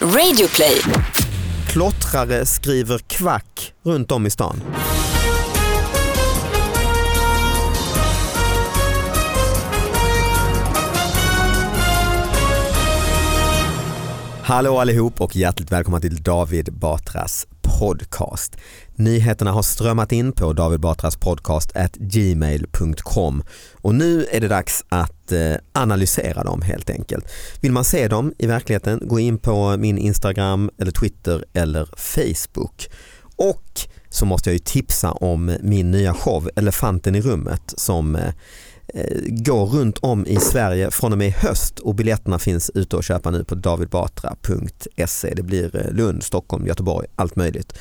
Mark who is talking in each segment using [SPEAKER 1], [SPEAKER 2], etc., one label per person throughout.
[SPEAKER 1] Radioplay.
[SPEAKER 2] Klottrare skriver kvack runt om i stan. Hallå allihop och hjärtligt välkomna till David Batras podcast. Nyheterna har strömmat in på David Batras podcast at gmail.com och nu är det dags att eh, analysera dem helt enkelt. Vill man se dem i verkligheten gå in på min Instagram eller Twitter eller Facebook. Och så måste jag ju tipsa om min nya show Elefanten i rummet som eh, eh, går runt om i Sverige från och med i höst och biljetterna finns ute att köpa nu på davidbatra.se. Det blir eh, Lund, Stockholm, Göteborg, allt möjligt.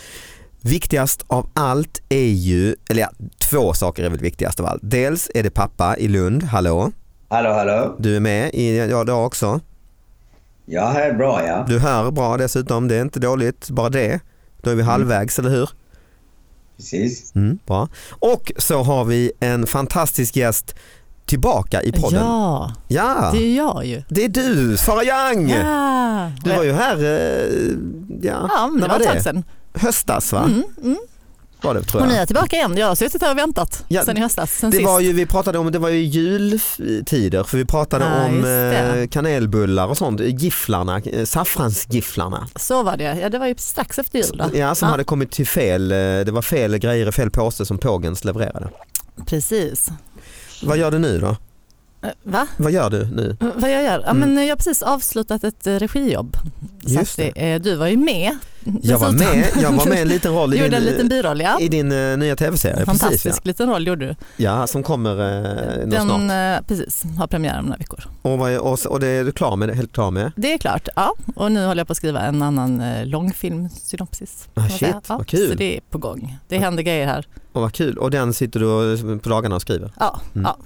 [SPEAKER 2] Viktigast av allt är ju, eller ja, två saker är väl viktigast av allt. Dels är det pappa i Lund, hallå,
[SPEAKER 3] Hallå, hallå.
[SPEAKER 2] du är med i, ja det har jag också.
[SPEAKER 3] Ja, här är bra ja.
[SPEAKER 2] Du hör bra dessutom, det är inte dåligt, bara det. Då är
[SPEAKER 4] Mm.
[SPEAKER 2] vi halvvägs, eller hur?
[SPEAKER 3] Precis.
[SPEAKER 2] Mm, bra. Och så har vi en fantastisk gäst tillbaka i podden.
[SPEAKER 4] Ja,
[SPEAKER 2] Ja.
[SPEAKER 4] det är jag ju.
[SPEAKER 2] Det är du, Sara Young!
[SPEAKER 4] Ja.
[SPEAKER 2] Du var ju här, eh, ja,
[SPEAKER 4] Ja, men det
[SPEAKER 2] när
[SPEAKER 4] var ett tag sedan. Mm,
[SPEAKER 2] Höstas va? Var det, tror
[SPEAKER 4] Och
[SPEAKER 2] jag.
[SPEAKER 4] ni är tillbaka igen. Jag har suttit här och väntat
[SPEAKER 2] Ja,
[SPEAKER 4] sen i höstas. Sen
[SPEAKER 2] det
[SPEAKER 4] sist.
[SPEAKER 2] var ju, vi pratade om, det var ju jultider för vi pratade
[SPEAKER 4] Ja,
[SPEAKER 2] om
[SPEAKER 4] just det.
[SPEAKER 2] eh, kanelbullar och sånt, gifflarna, eh, saffransgifflarna.
[SPEAKER 4] Så var det. Ja, det var ju strax efter jul. Då.
[SPEAKER 2] Ja, som hade kommit till fel, eh, det var fel grejer i fel påse som Pågens levererade.
[SPEAKER 4] Precis.
[SPEAKER 2] Vad gör du nu då?
[SPEAKER 4] Eh, Va?
[SPEAKER 2] Vad gör du nu?
[SPEAKER 4] Eh, Vad jag gör? Ja, men eh, jag har precis avslutat ett eh, regijobb. Så
[SPEAKER 2] Mm. Just
[SPEAKER 4] att, eh, du var ju med.
[SPEAKER 2] Jag var
[SPEAKER 4] dessutom.
[SPEAKER 2] med, jag var med i en liten roll
[SPEAKER 4] Du
[SPEAKER 2] i din,
[SPEAKER 4] gjorde en liten biroll, ja.
[SPEAKER 2] i din eh, nya tv-serie.
[SPEAKER 4] Fantastisk
[SPEAKER 2] Precis, ja.
[SPEAKER 4] liten roll gjorde du.
[SPEAKER 2] ja, som kommer eh, nog snart.
[SPEAKER 4] Den eh, precis, har premiär om några veckor.
[SPEAKER 2] Och, vad, och, och det är du klar med, helt klar med?
[SPEAKER 4] Det är klart, ja. Och nu håller jag på att skriva en annan eh, långfilmsynopsis.
[SPEAKER 2] Ah,
[SPEAKER 4] kan man
[SPEAKER 2] shit,
[SPEAKER 4] säga. ja,
[SPEAKER 2] vad kul.
[SPEAKER 4] Så det är på gång. Det händer grejer här.
[SPEAKER 2] Och vad kul, och den sitter du och- på dagarna och skriver?
[SPEAKER 4] Ja,
[SPEAKER 2] Mm.
[SPEAKER 4] ja.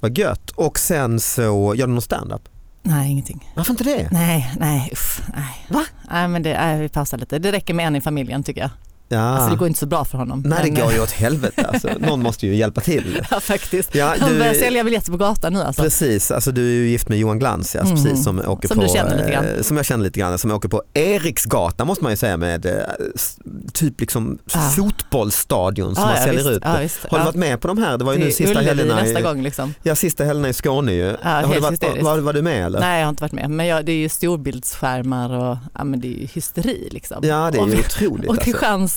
[SPEAKER 2] Vad gött! Och sen så, gör du någon standup?
[SPEAKER 4] Nej, ingenting.
[SPEAKER 2] Varför inte det?
[SPEAKER 4] Nej, nej, usch, nej. Va? Nej, men det, nej, vi pausar lite. Det räcker med en i familjen tycker jag.
[SPEAKER 2] Ja.
[SPEAKER 4] Alltså det går inte så bra för honom.
[SPEAKER 2] Ah. Nej
[SPEAKER 4] Men,
[SPEAKER 2] det går ju åt helvete alltså. någon måste ju hjälpa till.
[SPEAKER 4] Ja, faktiskt.
[SPEAKER 2] Ja,
[SPEAKER 4] Han börjar
[SPEAKER 2] du,
[SPEAKER 4] sälja biljetter på gatan nu alltså.
[SPEAKER 2] precis, alltså du är ju gift med Johan Glans ja, alltså,
[SPEAKER 4] Mhm.
[SPEAKER 2] precis, som åker
[SPEAKER 4] Som
[SPEAKER 2] på,
[SPEAKER 4] du känner lite grann.
[SPEAKER 2] eh, som jag känner lite grann, som åker på Eriksgatan måste man ju säga med eh, s- typ liksom
[SPEAKER 4] Ah.
[SPEAKER 2] fotbollsstadion som
[SPEAKER 4] Ja,
[SPEAKER 2] man
[SPEAKER 4] ja,
[SPEAKER 2] säljer
[SPEAKER 4] visst.
[SPEAKER 2] ut.
[SPEAKER 4] Ja, visst.
[SPEAKER 2] Har du
[SPEAKER 4] Ja.
[SPEAKER 2] varit med på de här? Det var ju
[SPEAKER 4] Det
[SPEAKER 2] nu
[SPEAKER 4] är
[SPEAKER 2] sista
[SPEAKER 4] Ullevi
[SPEAKER 2] helgerna
[SPEAKER 4] nästa
[SPEAKER 2] i,
[SPEAKER 4] gång liksom.
[SPEAKER 2] ja, sista helgerna i Skåne ju. har du
[SPEAKER 4] helt
[SPEAKER 2] varit,
[SPEAKER 4] hysteriskt.
[SPEAKER 2] var, var du med eller?
[SPEAKER 4] Nej, jag har inte varit med. Men jag, det är ju storbildsskärmar och ja, men det är ju hysteri liksom.
[SPEAKER 2] Ja det är
[SPEAKER 4] Och-
[SPEAKER 2] ju otroligt.
[SPEAKER 4] Och
[SPEAKER 2] alltså.
[SPEAKER 4] Kristianstad,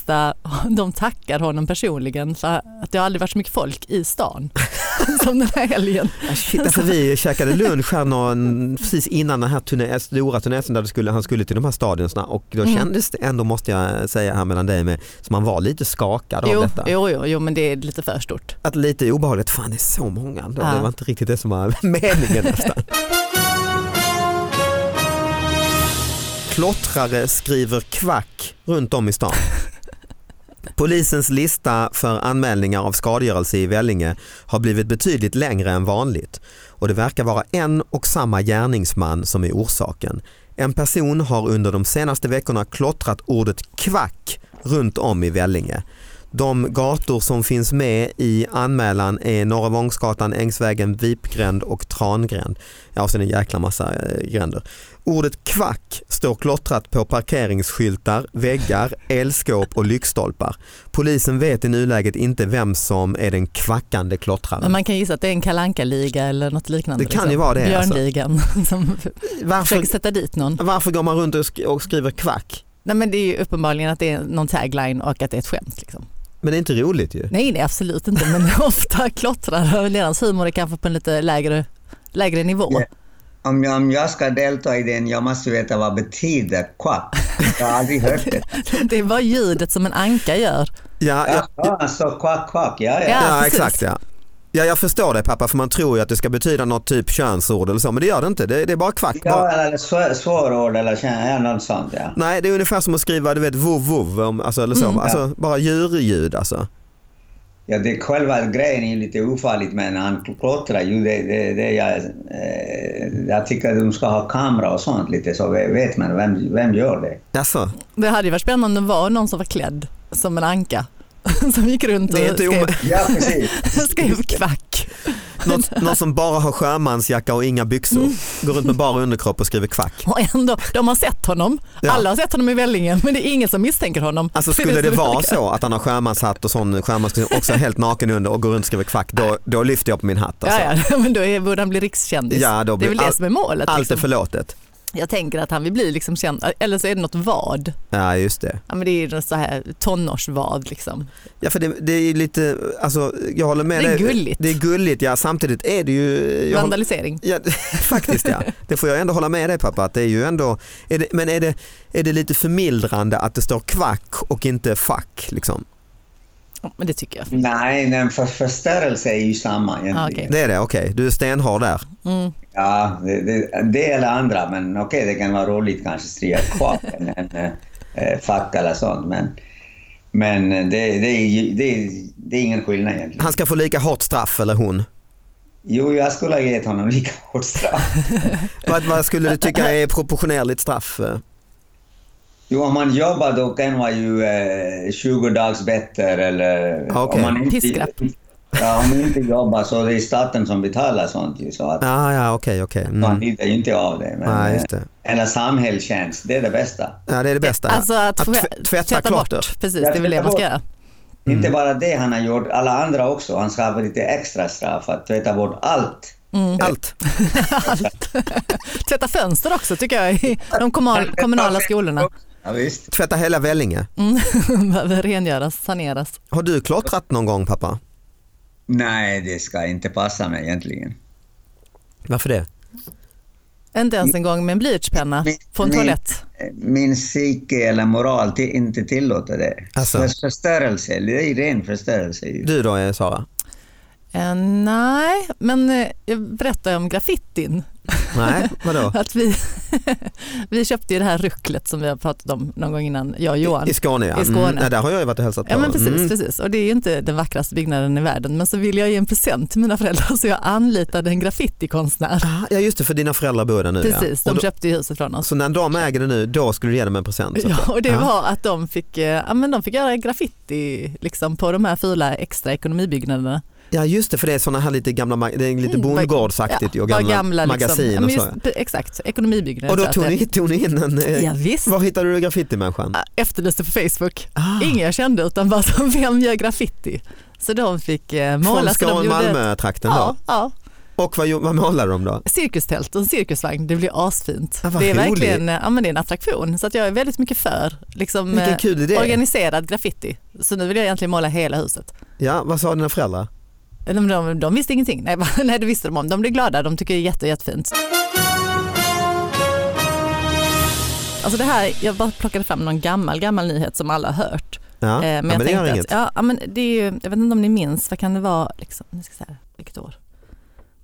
[SPEAKER 4] de tackar honom personligen för att det har aldrig varit så mycket folk i stan som den här helgen.
[SPEAKER 2] Ah, Shit, alltså vi käkade lunch här någon, precis innan den här turné, eh, stora turnén där det skulle, han skulle till de här stadionerna och då
[SPEAKER 4] Mm.
[SPEAKER 2] kändes det ändå, måste jag säga här mellan dig och mig, som man var lite skakad
[SPEAKER 4] Jo,
[SPEAKER 2] av detta.
[SPEAKER 4] jo, jo, jo, men det är lite för stort.
[SPEAKER 2] Att lite obehagligt, fan det är så många ändå.
[SPEAKER 4] Ja.
[SPEAKER 2] Det var inte riktigt det som var meningen nästan. Klottrare skriver kvack runt om i stan. Polisens lista för anmälningar av skadegörelse i Vellinge har blivit betydligt längre än vanligt och det verkar vara en och samma gärningsman som är orsaken. En person har under de senaste veckorna klottrat ordet kvack runt om i Vellinge. De gator som finns med i anmälan är Norra Vångsgatan, Ängsvägen, Vipgränd och Trangränd. Ja, och sen en jäkla massa eh, gränder. Ordet kvack står klottrat på parkeringsskyltar, väggar, elskåp och lyktstolpar. Polisen vet i nuläget inte vem som är den kvackande klottraren.
[SPEAKER 4] Men man kan gissa att det är en kalanka liga eller något liknande. liksom.
[SPEAKER 2] Det kan ju vara det, alltså.
[SPEAKER 4] Björnligan som
[SPEAKER 2] Varför,
[SPEAKER 4] försöker sätta dit någon.
[SPEAKER 2] varför går man runt och sk- och skriver kvack?
[SPEAKER 4] Nej, men det är ju uppenbarligen att det är någon tagline och att det är ett skämt. Liksom.
[SPEAKER 2] Men det är inte roligt ju.
[SPEAKER 4] Nej, nej, absolut inte. Men ofta klottrar deras humor är kanske på en lite lägre, lägre nivå.
[SPEAKER 3] Ja. Om jag, om jag ska delta i den, jag måste veta vad betyder kvack. Jag har aldrig hört det.
[SPEAKER 4] Det är bara ljudet som en anka gör.
[SPEAKER 2] Ja, ja,
[SPEAKER 3] Ja, alltså kvack, kvack. Ja, ja.
[SPEAKER 4] Ja.
[SPEAKER 2] Ja,
[SPEAKER 4] precis.
[SPEAKER 2] exakt ja. Ja jag förstår dig pappa för man tror ju att det ska betyda något typ könsord eller så men det gör det inte. Det, det är bara kvack. Bara.
[SPEAKER 3] Ja, eller svår, svårord eller känner jag något sånt. Ja.
[SPEAKER 2] Nej det är ungefär som att skriva du vet vov vov om- alltså, eller så.
[SPEAKER 4] Mm,
[SPEAKER 2] alltså, Bara djurljud alltså.
[SPEAKER 3] Ja, det själva grejen är ju lite ofarligt, men han klottrar ju. Det, det, det jag, eh, jag tycker att de ska ha kamera och sånt lite, så vet man vem, vem gör det.
[SPEAKER 2] Alltså,
[SPEAKER 4] Det hade ju varit spännande om det var någon som var klädd som en anka som gick runt och
[SPEAKER 2] Det är inte
[SPEAKER 4] skrev,
[SPEAKER 2] ome-
[SPEAKER 3] Ja, precis.
[SPEAKER 4] skrev kvack.
[SPEAKER 2] Något, någon som bara har sjömansjacka och inga byxor.
[SPEAKER 4] Mm.
[SPEAKER 2] Går runt med bara underkropp och skriver kvack.
[SPEAKER 4] Och ändå, de har sett honom.
[SPEAKER 2] Ja.
[SPEAKER 4] Alla har sett honom i Vällingen men det är ingen som misstänker honom.
[SPEAKER 2] Alltså skulle det vara så att han har sjömanshatt och sån sjömanskostym också helt naken under och går runt och skriver kvack då, då lyfter jag på min hatt. Alltså.
[SPEAKER 4] Ja, ja, men då är, borde han bli rikskändis.
[SPEAKER 2] Ja, då
[SPEAKER 4] det
[SPEAKER 2] blir
[SPEAKER 4] är väl det
[SPEAKER 2] all-
[SPEAKER 4] som är målet.
[SPEAKER 2] Allt är
[SPEAKER 4] liksom.
[SPEAKER 2] förlåtet.
[SPEAKER 4] Jag tänker att han vill bli liksom känd, eller så är det något vad.
[SPEAKER 2] Ja just det.
[SPEAKER 4] Ja, men det är ju något så här tonårsvad liksom.
[SPEAKER 2] Ja för det, det är ju lite, alltså jag håller med
[SPEAKER 4] Det är
[SPEAKER 2] dig.
[SPEAKER 4] gulligt.
[SPEAKER 2] Det är gulligt ja, samtidigt är det ju... Jag håller,
[SPEAKER 4] Vandalisering.
[SPEAKER 2] ja, faktiskt ja, det får jag ändå hålla med dig pappa. Att det är ju ändå, är det, men är det, är det lite förmildrande att det står kvack och inte fuck? Liksom?
[SPEAKER 4] Ja, men det tycker jag.
[SPEAKER 3] Nej, men för förstörelse är ju samma egentligen.
[SPEAKER 4] Ah, okej.
[SPEAKER 2] Det är det, okej. Du är stenhård där.
[SPEAKER 4] Mm.
[SPEAKER 3] Ja, det, det, det eller andra, men okej, det kan vara roligt kanske att stria kvar en, en eh, fack eller sånt, men, men det, det, är ju- det, det är ingen skillnad egentligen.
[SPEAKER 2] Han ska få lika hårt straff eller hon.
[SPEAKER 3] Jo, jag skulle ha gett honom lika hårt straff.
[SPEAKER 2] Vad, vad skulle du tycka är proportionerligt straff? eh?
[SPEAKER 3] Jo, om man jobbar då kan man ju eh, 20 dags bättre eller...
[SPEAKER 2] Ah, Okej.
[SPEAKER 3] Om man inte,
[SPEAKER 4] Piskrapp.
[SPEAKER 3] ja, om man inte jobbar så det är staten som betalar sånt ju, så att
[SPEAKER 2] Ja, ja, okej, okej.
[SPEAKER 3] man
[SPEAKER 2] Mm.
[SPEAKER 3] lider ju inte av det. Men, eh,
[SPEAKER 2] Nej, just det.
[SPEAKER 3] Eller samhällstjänst, det är det bästa.
[SPEAKER 2] Ja, det är det bästa.
[SPEAKER 4] Alltså att,
[SPEAKER 2] tv-
[SPEAKER 4] tvätta,
[SPEAKER 2] tvätta klotter.
[SPEAKER 4] bort. Precis, det är väl det man ska göra.
[SPEAKER 2] Mm.
[SPEAKER 3] Inte bara det han har gjort, alla andra också. Han ska ha lite extra straff, att tvätta bort allt.
[SPEAKER 4] Mm.
[SPEAKER 2] Allt.
[SPEAKER 4] Allt. Tvätta fönster också tycker jag i de komma- kommunala skolorna.
[SPEAKER 3] Ja, visst.
[SPEAKER 2] Tvätta hela Vellinge.
[SPEAKER 4] Mm. Behöver rengöras, saneras.
[SPEAKER 2] Har du klottrat någon gång pappa?
[SPEAKER 3] Nej, det ska inte passa mig egentligen.
[SPEAKER 2] Varför det?
[SPEAKER 4] Inte ens en gång med en blyertspenna på en
[SPEAKER 3] min,
[SPEAKER 4] toalett.
[SPEAKER 3] Min psyke eller moral till, inte tillåter det.
[SPEAKER 2] Alltså.
[SPEAKER 3] För förstörelse, det är ren förstörelse ju.
[SPEAKER 2] Du då eh, Sara?
[SPEAKER 4] Eh, nej, men eh, jag berättade om graffitin.
[SPEAKER 2] Nej, vadå?
[SPEAKER 4] Att vi, vi köpte ju det här rucklet som vi har pratat om någon gång innan, jag och Johan.
[SPEAKER 2] I Skåne ja.
[SPEAKER 4] I Skåne.
[SPEAKER 2] Mm, ja, där har jag ju varit och hälsat på.
[SPEAKER 4] Ja men precis,
[SPEAKER 2] Mm.
[SPEAKER 4] precis. Och det är ju inte den vackraste byggnaden i världen men så ville jag ge en present till mina föräldrar så jag anlitade en graffitikonstnär.
[SPEAKER 2] Ah, Ja just det, för dina föräldrar bor där nu.
[SPEAKER 4] Precis,
[SPEAKER 2] ja.
[SPEAKER 4] de
[SPEAKER 2] Och då,
[SPEAKER 4] köpte ju huset från oss.
[SPEAKER 2] Så när de äger det nu, då skulle du ge dem en present? så att
[SPEAKER 4] Ja,
[SPEAKER 2] säga.
[SPEAKER 4] och det
[SPEAKER 2] Ja.
[SPEAKER 4] var att de fick, eh, ja, men de fick göra graffiti liksom, på de här fula extra ekonomibyggnaderna.
[SPEAKER 2] Ja just det, för det är sådana här lite gamla, ma- det är lite
[SPEAKER 4] Mm,
[SPEAKER 2] bondgårdsaktigt ju, och
[SPEAKER 4] bara
[SPEAKER 2] gamla, magasin
[SPEAKER 4] liksom. ja, men
[SPEAKER 2] och så.
[SPEAKER 4] just, pre- Exakt, ekonomibyggnader.
[SPEAKER 2] Och då
[SPEAKER 4] så att
[SPEAKER 2] tog
[SPEAKER 4] jag-
[SPEAKER 2] ni, tog ni in en, eh,
[SPEAKER 4] Ja, visst.
[SPEAKER 2] var hittade du graffitimänniskan?
[SPEAKER 4] äh, efterlyste på Facebook.
[SPEAKER 2] Ah.
[SPEAKER 4] Ingen jag kände utan bara som vem gör graffiti? Så de fick eh,
[SPEAKER 2] Från
[SPEAKER 4] måla. så de
[SPEAKER 2] Skåne,
[SPEAKER 4] gjorde-
[SPEAKER 2] Malmö-trakten
[SPEAKER 4] Ja, ja.
[SPEAKER 2] då? Och vad, gjo- vad målade de då?
[SPEAKER 4] Cirkustält och en cirkusvagn, det blir asfint.
[SPEAKER 2] Ah, vad
[SPEAKER 4] det är
[SPEAKER 2] roligt.
[SPEAKER 4] verkligen eh, ja, men det är en attraktion så att jag är väldigt mycket för liksom,
[SPEAKER 2] Vilken
[SPEAKER 4] eh,
[SPEAKER 2] kul idé.
[SPEAKER 4] organiserad graffiti. Så nu vill jag egentligen måla hela huset.
[SPEAKER 2] Ja, vad sa dina föräldrar?
[SPEAKER 4] De, de, de visste ingenting, nej, bara, nej det visste de om. De blev glada, de tycker det är jätte, jättefint. Alltså det här, jag bara plockade fram någon gammal, gammal nyhet som alla har hört.
[SPEAKER 2] Ja,
[SPEAKER 4] Eh,
[SPEAKER 2] ja, men det gör
[SPEAKER 4] tänkte
[SPEAKER 2] inget.
[SPEAKER 4] Att, ja, ja, men det är ju, jag vet inte om ni minns, vad kan det vara, liksom, nu ska jag säga, vilket år?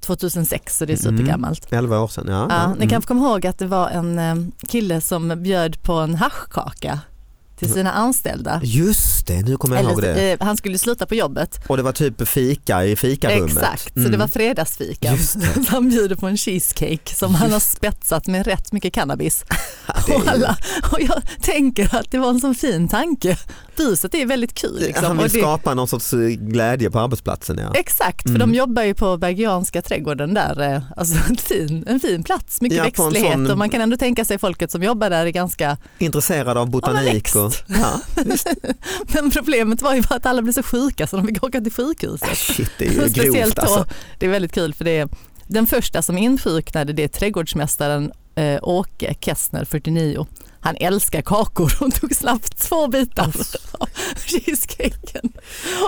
[SPEAKER 4] 2006, så det är
[SPEAKER 2] Mm.
[SPEAKER 4] supergammalt.
[SPEAKER 2] 11 år sedan, ja. Mm.
[SPEAKER 4] Ja,
[SPEAKER 2] ja.
[SPEAKER 4] ni kanske kommer ihåg att det var en eh, kille som bjöd på en haschkaka till sina anställda.
[SPEAKER 2] Just det, nu kommer Mm. jag ihåg
[SPEAKER 4] Eller,
[SPEAKER 2] det.
[SPEAKER 4] eh, han skulle sluta på jobbet.
[SPEAKER 2] Och det var typ fika i fikarummet.
[SPEAKER 4] Exakt, så
[SPEAKER 2] Mm.
[SPEAKER 4] det var fredagsfika.
[SPEAKER 2] Just det.
[SPEAKER 4] Så han bjuder på en cheesecake som han har spetsat med rätt mycket cannabis.
[SPEAKER 2] det är ju-
[SPEAKER 4] Och, alla, och jag tänker att det var en sån fin tanke. Buset är väldigt kul. Liksom.
[SPEAKER 2] Han vill
[SPEAKER 4] och det,
[SPEAKER 2] skapa någon sorts eh, glädje på arbetsplatsen. Ja.
[SPEAKER 4] Exakt, för
[SPEAKER 2] Mm.
[SPEAKER 4] de jobbar ju på Bergianska trädgården där. eh, Alltså en fin, en fin plats, mycket
[SPEAKER 2] Ja, på en
[SPEAKER 4] växtlighet
[SPEAKER 2] sån-
[SPEAKER 4] och man kan ändå tänka sig folket som jobbar där är ganska...
[SPEAKER 2] Intresserad av botanik.
[SPEAKER 4] Ja, men
[SPEAKER 2] och, ja.
[SPEAKER 4] Men problemet var ju bara att alla blev så sjuka så de fick åka till sjukhuset.
[SPEAKER 2] Shit, det är ju
[SPEAKER 4] Speciellt
[SPEAKER 2] grovt
[SPEAKER 4] då,
[SPEAKER 2] alltså.
[SPEAKER 4] det är väldigt kul för det är, den första som insjuknade det är trädgårdsmästaren eh, Åke Kessner, 49. Han älskar kakor och tog snabbt två bitar av cheesecaken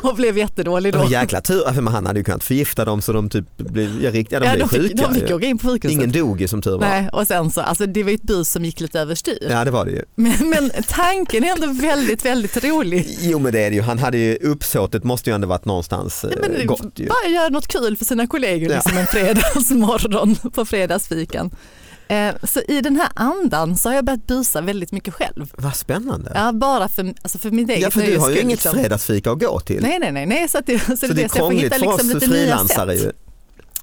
[SPEAKER 4] och blev jättedålig då.
[SPEAKER 2] Men jäkla tur, alltså, men han hade ju kunnat förgifta dem så de typ blev, ja, riktigt, ja, de
[SPEAKER 4] Ja,
[SPEAKER 2] blev
[SPEAKER 4] de fick,
[SPEAKER 2] sjuka.
[SPEAKER 4] de fick
[SPEAKER 2] ju.
[SPEAKER 4] åka in på sjukhuset.
[SPEAKER 2] Ingen dog ju som tur var.
[SPEAKER 4] Nej, och sen så, alltså det var ju ett bus som gick lite överstyr.
[SPEAKER 2] Ja det var det ju.
[SPEAKER 4] Men, men tanken är ändå väldigt, väldigt rolig.
[SPEAKER 2] Jo men det är det ju, han hade ju uppsåtet måste ju ändå varit någonstans eh,
[SPEAKER 4] Men
[SPEAKER 2] gott ju.
[SPEAKER 4] bara göra något kul för sina kollegor
[SPEAKER 2] Ja.
[SPEAKER 4] liksom en fredagsmorgon på fredagsfikan. Eh, så i den här andan så har jag börjat busa väldigt mycket själv.
[SPEAKER 2] Vad spännande.
[SPEAKER 4] Ja, bara för, alltså för mitt eget
[SPEAKER 2] Ja, för du
[SPEAKER 4] nöjes
[SPEAKER 2] har ju
[SPEAKER 4] skull,
[SPEAKER 2] inget
[SPEAKER 4] liksom.
[SPEAKER 2] fredagsfika att gå till.
[SPEAKER 4] Nej, nej, nej, nej, så, att det, så,
[SPEAKER 2] så det är
[SPEAKER 4] så jag får
[SPEAKER 2] krångligt
[SPEAKER 4] hitta
[SPEAKER 2] för
[SPEAKER 4] liksom
[SPEAKER 2] oss
[SPEAKER 4] lite nya sätt.
[SPEAKER 2] frilansare ju.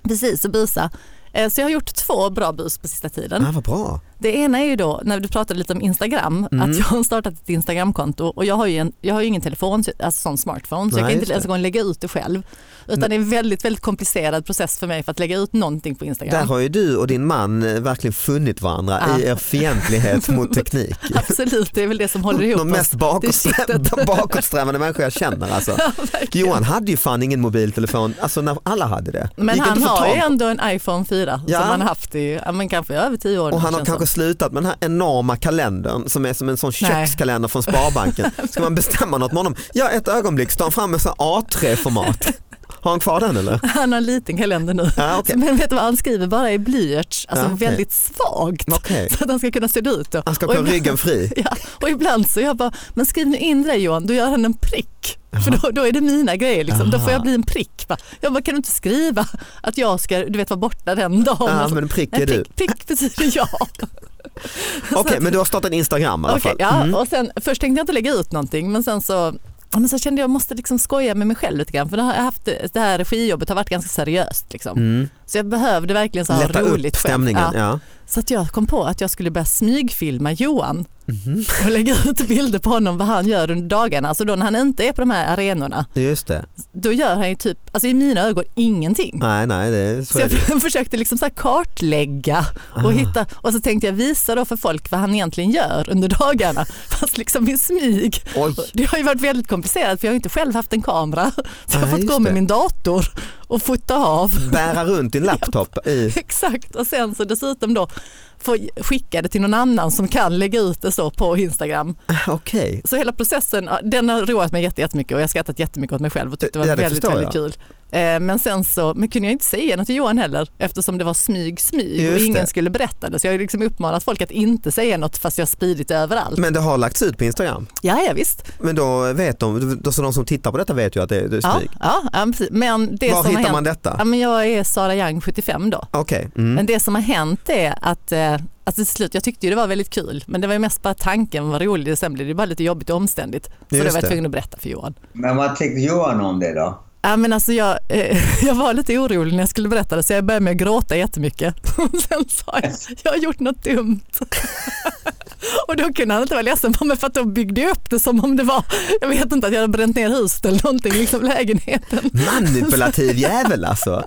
[SPEAKER 4] Precis, och busa. Eh, Så jag har gjort två bra bus på sista tiden.
[SPEAKER 2] Ah, vad bra.
[SPEAKER 4] Det ena är ju då, när du pratade lite om Instagram,
[SPEAKER 2] Mm.
[SPEAKER 4] att jag har startat ett Instagramkonto och jag har ju, en, jag har ju ingen telefon, alltså sån smartphone, så
[SPEAKER 2] Nej,
[SPEAKER 4] jag kan
[SPEAKER 2] just
[SPEAKER 4] inte
[SPEAKER 2] det.
[SPEAKER 4] ens en gång lägga ut det själv. Utan det är en väldigt, väldigt komplicerad process för mig för att lägga ut någonting på
[SPEAKER 2] Där
[SPEAKER 4] Instagram.
[SPEAKER 2] har ju du och din man eh, verkligen funnit varandra
[SPEAKER 4] Ja.
[SPEAKER 2] i er fientlighet mot teknik.
[SPEAKER 4] Absolut, det är väl det som håller ihop
[SPEAKER 2] De mest bakåtsträ- bakåtsträvande människor jag känner alltså. Johan hade ju fan ingen mobiltelefon, alltså när alla hade det.
[SPEAKER 4] Men
[SPEAKER 2] Gick
[SPEAKER 4] han
[SPEAKER 2] inte att få
[SPEAKER 4] har
[SPEAKER 2] tag
[SPEAKER 4] ju
[SPEAKER 2] på.
[SPEAKER 4] ändå en iPhone 4
[SPEAKER 2] Ja.
[SPEAKER 4] som han har haft i ja, men kanske över tio år nu,
[SPEAKER 2] Och han har
[SPEAKER 4] känns det
[SPEAKER 2] kanske slutat med den här enorma kalendern som är som en sån
[SPEAKER 4] Nej.
[SPEAKER 2] kökskalender från Sparbanken. Ska man bestämma något med honom? Ja, ett ögonblick, så tar han fram en sån A3-format. Har han kvar den eller?
[SPEAKER 4] som. Han har en liten kalender nu.
[SPEAKER 2] Ja, okej.
[SPEAKER 4] Men vet du vad han skriver? Bara i blyerts, alltså
[SPEAKER 2] Ja, okej.
[SPEAKER 4] väldigt svagt.
[SPEAKER 2] Okej.
[SPEAKER 4] Så att han ska kunna se ut. Då.
[SPEAKER 2] Han ska
[SPEAKER 4] Och
[SPEAKER 2] ha
[SPEAKER 4] ibland-
[SPEAKER 2] ryggen fri.
[SPEAKER 4] Ja, och ibland så jag bara, men skriv nu in det där, Johan, då gör han en prick. För då, då är det mina grejer, liksom. då
[SPEAKER 2] Aha.
[SPEAKER 4] får jag bli en prick. Va? Jag bara, kan du inte skriva att jag ska du vet, vara borta den dagen?
[SPEAKER 2] Ja,
[SPEAKER 4] Och så-
[SPEAKER 2] men prick
[SPEAKER 4] Nej,
[SPEAKER 2] är du.
[SPEAKER 4] prick, prick betyder jag.
[SPEAKER 2] Okej, men du har startat Instagram i alla
[SPEAKER 4] Okej,
[SPEAKER 2] fall. Mm.
[SPEAKER 4] ja, och sen, först tänkte jag inte lägga ut någonting men sen så ja, men så kände jag att jag måste liksom skoja med mig själv lite grann för det, har jag haft, det här regijobbet har varit ganska seriöst. Liksom. Så jag behövde verkligen så här
[SPEAKER 2] Mm. Lätta
[SPEAKER 4] roligt
[SPEAKER 2] upp
[SPEAKER 4] själv.
[SPEAKER 2] stämningen.
[SPEAKER 4] Ja.
[SPEAKER 2] Ja.
[SPEAKER 4] Så att jag kom på att jag skulle börja smygfilma Johan
[SPEAKER 2] Mhm.
[SPEAKER 4] och lägga ut bilder på honom vad han gör under dagarna. Alltså då när han inte är på de här arenorna
[SPEAKER 2] Just det.
[SPEAKER 4] då gör han ju typ, alltså i mina ögon ingenting.
[SPEAKER 2] Nej, nej, det är så.
[SPEAKER 4] Så
[SPEAKER 2] är det. Ah.
[SPEAKER 4] jag försökte liksom så här kartlägga och hitta och så tänkte jag visa då för folk vad han egentligen gör under dagarna fast liksom i smyg.
[SPEAKER 2] Oj.
[SPEAKER 4] Det har ju varit väldigt komplicerat för jag har ju inte själv haft en kamera så jag har
[SPEAKER 2] Nej,
[SPEAKER 4] fått
[SPEAKER 2] just
[SPEAKER 4] gå med
[SPEAKER 2] det.
[SPEAKER 4] min dator och fota av.
[SPEAKER 2] Bära runt din laptop i...
[SPEAKER 4] Exakt och sen så dessutom då få skicka det till någon annan som kan lägga ut det så på Instagram.
[SPEAKER 2] Okej.
[SPEAKER 4] Så hela processen, ja, den har roat mig jätte- jättemycket och jag har skrattat jättemycket åt mig själv och tyckte det var
[SPEAKER 2] Ja, det
[SPEAKER 4] väldigt,
[SPEAKER 2] förstår
[SPEAKER 4] väldigt kul. Eh, Men sen så men kunde jag inte säga något till Johan heller eftersom det var smyg, smyg och
[SPEAKER 2] Just
[SPEAKER 4] ingen
[SPEAKER 2] det.
[SPEAKER 4] skulle berätta det. Så jag har ju liksom uppmanat folk att inte säga något fast jag har spridit det överallt.
[SPEAKER 2] Men det har lagts ut på Instagram?
[SPEAKER 4] Ja, ja visst.
[SPEAKER 2] Men då vet de, då, så de som tittar på detta vet ju att det, det är
[SPEAKER 4] Ja,
[SPEAKER 2] smyg.
[SPEAKER 4] ja, ja, precis. Men det
[SPEAKER 2] Var
[SPEAKER 4] som har
[SPEAKER 2] hittar
[SPEAKER 4] hänt,
[SPEAKER 2] man
[SPEAKER 4] Ja,
[SPEAKER 2] detta?
[SPEAKER 4] men jag är Sara Young 75 då.
[SPEAKER 2] Okej, mm.
[SPEAKER 4] Men det som har hänt är att eh, Alltså till slut, jag tyckte ju det var väldigt kul men det var ju mest bara tanken var rolig och sen blev det bara lite jobbigt och omständigt. Så
[SPEAKER 2] Just
[SPEAKER 4] då var jag
[SPEAKER 2] det.
[SPEAKER 4] tvungen att berätta för Johan.
[SPEAKER 3] Men vad tyckte Johan om det då?
[SPEAKER 4] Ja, men alltså jag, eh, jag var lite orolig när jag skulle berätta det så jag började med att gråta jättemycket. Och Sen sa jag jag har gjort något dumt. Och då kunde han inte vara ledsen på mig för att då byggde jag upp det som om det var, jag vet inte att jag hade bränt ner huset eller någonting, liksom lägenheten.
[SPEAKER 2] manipulativ jävel alltså.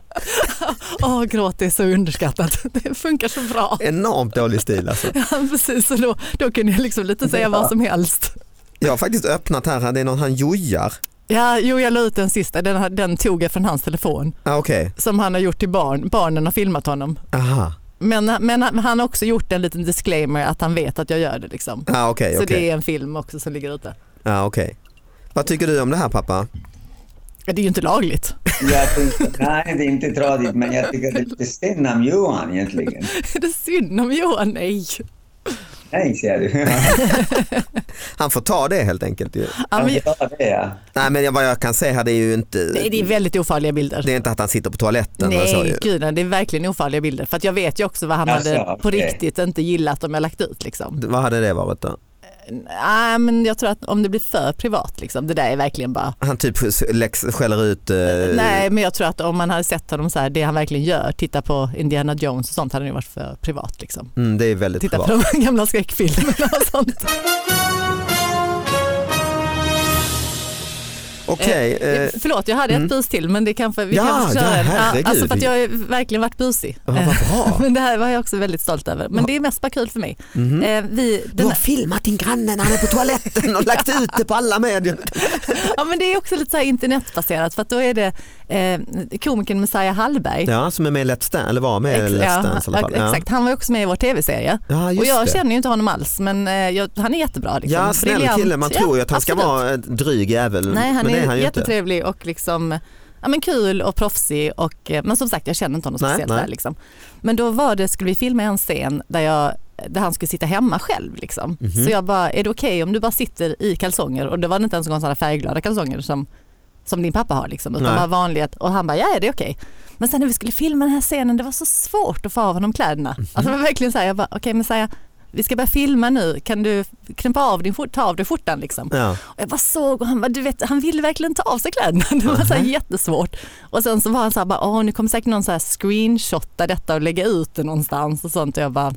[SPEAKER 4] Åh, gråt är så underskattat. Det funkar så bra.
[SPEAKER 2] Enormt dålig stil alltså.
[SPEAKER 4] Ja, Precis, så då, då kunde jag liksom lite säga vad som helst.
[SPEAKER 2] Jag har faktiskt öppnat här, det är någon han jojar.
[SPEAKER 4] Ja, jo, jag la ut den sista, den, den tog jag från hans telefon
[SPEAKER 2] Ah, Okej,
[SPEAKER 4] som han har gjort till barn. Barnen har filmat honom.
[SPEAKER 2] aha.
[SPEAKER 4] Men, men han han har också gjort en liten disclaimer att han vet att jag gör det. Liksom.
[SPEAKER 2] Ah, Okej,
[SPEAKER 4] Så
[SPEAKER 2] okej.
[SPEAKER 4] det är en film också som ligger ute.
[SPEAKER 2] Ah, okej. Vad tycker du om det här pappa?
[SPEAKER 4] Ja, det är ju inte lagligt.
[SPEAKER 3] Jag tänkte, nej, det är inte tradigt, men jag tycker det är lite synd om Johan egentligen.
[SPEAKER 4] Är det synd om Johan? Nej.
[SPEAKER 3] Nej, ser du.
[SPEAKER 2] Han får ta det helt enkelt. Ju.
[SPEAKER 4] Ja, men,
[SPEAKER 3] Ja, det ja.
[SPEAKER 2] Nej men vad jag kan säga här det är ju inte,
[SPEAKER 4] nej, det är väldigt ofarliga bilder.
[SPEAKER 2] det är inte att han sitter på toaletten. eller så,
[SPEAKER 4] Nej,
[SPEAKER 2] ju.
[SPEAKER 4] gud, nej, det är verkligen ofarliga bilder. För att jag vet ju också vad han
[SPEAKER 3] Alltså,
[SPEAKER 4] hade på
[SPEAKER 3] okej.
[SPEAKER 4] riktigt inte gillat om jag lagt ut. Liksom.
[SPEAKER 2] Vad hade det varit då?
[SPEAKER 4] Nej, men jag tror att om det blir för privat, liksom, det där är verkligen bara...
[SPEAKER 2] Han typ läx- skäller ut eh,
[SPEAKER 4] Nej, men jag tror att om man hade sett honom så här, det han verkligen gör, titta på Indiana Jones och sånt, hade det ju varit för privat. Liksom.
[SPEAKER 2] Mm, det är väldigt
[SPEAKER 4] Titta
[SPEAKER 2] privat.
[SPEAKER 4] på de gamla skräckfilmerna och sånt.
[SPEAKER 2] Okej, eh,
[SPEAKER 4] Eh, Förlåt, jag hade ett bus till men det kanske vi
[SPEAKER 2] Ja,
[SPEAKER 4] kan
[SPEAKER 2] ja,
[SPEAKER 4] köra en.
[SPEAKER 2] herregud.
[SPEAKER 4] alltså för att jag har ju verkligen varit busig. Eh,
[SPEAKER 2] vad bra.
[SPEAKER 4] Men det här var jag också väldigt stolt över. Men det är mest bara kul för mig.
[SPEAKER 2] Mhm.
[SPEAKER 4] Eh, Vi,
[SPEAKER 2] Du
[SPEAKER 4] den
[SPEAKER 2] har
[SPEAKER 4] här,
[SPEAKER 2] filmat din granne när han är på toaletten och lagt ut det på alla medier.
[SPEAKER 4] ja, men det är också lite så här internetbaserat för att då är det eh, komikern Messiah Hallberg.
[SPEAKER 2] Ja, som är med i Let's Dance, eller var med i
[SPEAKER 4] Ex-
[SPEAKER 2] Let's
[SPEAKER 4] ja,
[SPEAKER 2] Dance i alla fall. Ja.
[SPEAKER 4] Exakt, han var ju också med i vår tv-serie.
[SPEAKER 2] Ja, just
[SPEAKER 4] och jag
[SPEAKER 2] det.
[SPEAKER 4] känner ju inte honom alls men eh, jag, han är jättebra. Liksom.
[SPEAKER 2] Ja, snäll
[SPEAKER 4] Briljant.
[SPEAKER 2] kille, man
[SPEAKER 4] Ja,
[SPEAKER 2] tror ju att han ska
[SPEAKER 4] absolut.
[SPEAKER 2] vara en dryg jävel,
[SPEAKER 4] Nej, han
[SPEAKER 2] men det
[SPEAKER 4] är,
[SPEAKER 2] är han ju inte.
[SPEAKER 4] jättetrevlig och liksom, ja, men kul och proffsig. Och, eh, men som sagt, jag känner inte honom
[SPEAKER 2] Nej,
[SPEAKER 4] speciellt
[SPEAKER 2] nej.
[SPEAKER 4] väl. Liksom. Men då var det, skulle vi filma en scen där, jag, där han skulle sitta hemma själv. Liksom.
[SPEAKER 2] Mhm.
[SPEAKER 4] Så jag bara, är det okej om du bara sitter i kalsonger? Och det var inte ens en gång sådana färgglada kalsonger som, som din pappa har. Liksom, utan
[SPEAKER 2] Nej.
[SPEAKER 4] bara vanliga. Och han bara, ja ja, det är okej. Men sen när vi skulle filma den här scenen, det var så svårt att få av honom kläderna.
[SPEAKER 2] Mhm.
[SPEAKER 4] Alltså det var verkligen så här, jag bara, okej men säga, vi ska börja filma nu, kan du knäppa av din, skjort- ta av dig skjortan liksom?
[SPEAKER 2] Ja.
[SPEAKER 4] Och jag bara såg och han bara, du vet, han ville verkligen ta av sig kläderna. Det var så här jättesvårt. Och sen så var han så här, bara, åh nu kommer säkert någon så här screenshotta detta och lägga ut det någonstans och sånt. Och jag bara,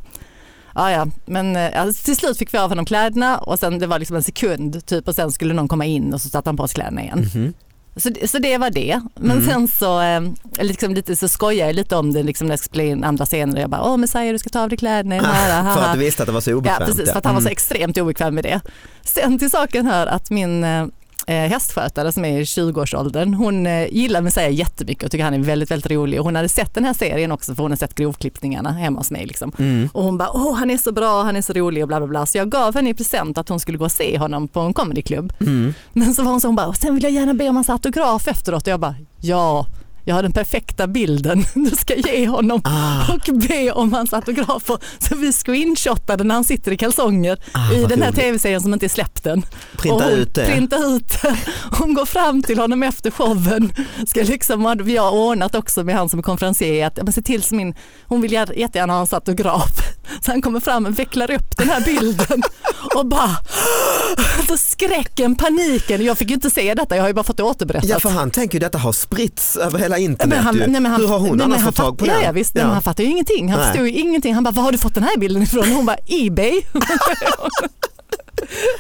[SPEAKER 4] Ja, ja. Men eh, alltså, till slut fick vi av honom kläderna och sen det var liksom en sekund typ och sen skulle någon komma in och så satte han på sig kläderna igen.
[SPEAKER 2] Mhm.
[SPEAKER 4] Så, det- så det var det. Men
[SPEAKER 2] Mm.
[SPEAKER 4] sen så, eh, liksom lite, så skojade jag lite om det liksom, när jag skulle spela in andra scener. Jag bara, åh Messiah du ska ta av dig kläderna i den här.
[SPEAKER 2] För
[SPEAKER 4] haha."
[SPEAKER 2] att du visste att det var så
[SPEAKER 4] Ja
[SPEAKER 2] obekvämt. Mm.
[SPEAKER 4] precis, för att han var så extremt obekväm med det. Sen till saken hör att min eh, hästskötare som är i 20-årsåldern, hon eh, gillar Messiah jättemycket och tycker han är väldigt, väldigt rolig. Och hon hade sett den här serien också för hon har sett grovklippningarna hemma hos mig. Liksom.
[SPEAKER 2] Mm.
[SPEAKER 4] Och hon bara, åh han är så bra, han är så rolig och bla bla bla. Så jag gav henne i present att hon skulle gå och se honom på en comedyklubb.
[SPEAKER 2] Mm.
[SPEAKER 4] Men så var hon så, hon bara, sen vill jag gärna be om hans autograf efteråt. Och jag bara, ja, jag har den perfekta bilden. Du ska ge honom
[SPEAKER 2] Ah,
[SPEAKER 4] och be om hans autografer. Så vi screenshotade när han sitter i kalsonger
[SPEAKER 2] Ah,
[SPEAKER 4] i
[SPEAKER 2] vad
[SPEAKER 4] den här
[SPEAKER 2] roligt.
[SPEAKER 4] tv-serien som inte är släppt än. Och
[SPEAKER 2] printa
[SPEAKER 4] hon
[SPEAKER 2] ut det.
[SPEAKER 4] Printar ut det. Hon går fram till honom efter showen. Ska liksom, vi har ordnat också med han som är konferencier att ja, men se till så min, hon vill gär- jättegärna ha hans autograf. Så han kommer fram och vecklar upp den här bilden och bara, alltså skräcken, paniken. Jag fick ju inte se detta, jag har ju bara fått det återberättat.
[SPEAKER 2] Ja för han tänker ju detta har spritts över hela internet
[SPEAKER 4] Men han,
[SPEAKER 2] ju.
[SPEAKER 4] nej, men han,
[SPEAKER 2] Hur har hon
[SPEAKER 4] nej, men
[SPEAKER 2] annars
[SPEAKER 4] han
[SPEAKER 2] fått tag på
[SPEAKER 4] fatt-
[SPEAKER 2] den?
[SPEAKER 4] Ja, ja, visst, nej, Men han fattar ju ingenting. Han
[SPEAKER 2] Nej.
[SPEAKER 4] förstod ju ingenting. Han bara, var har du fått den här bilden ifrån? Hon bara, Ebay.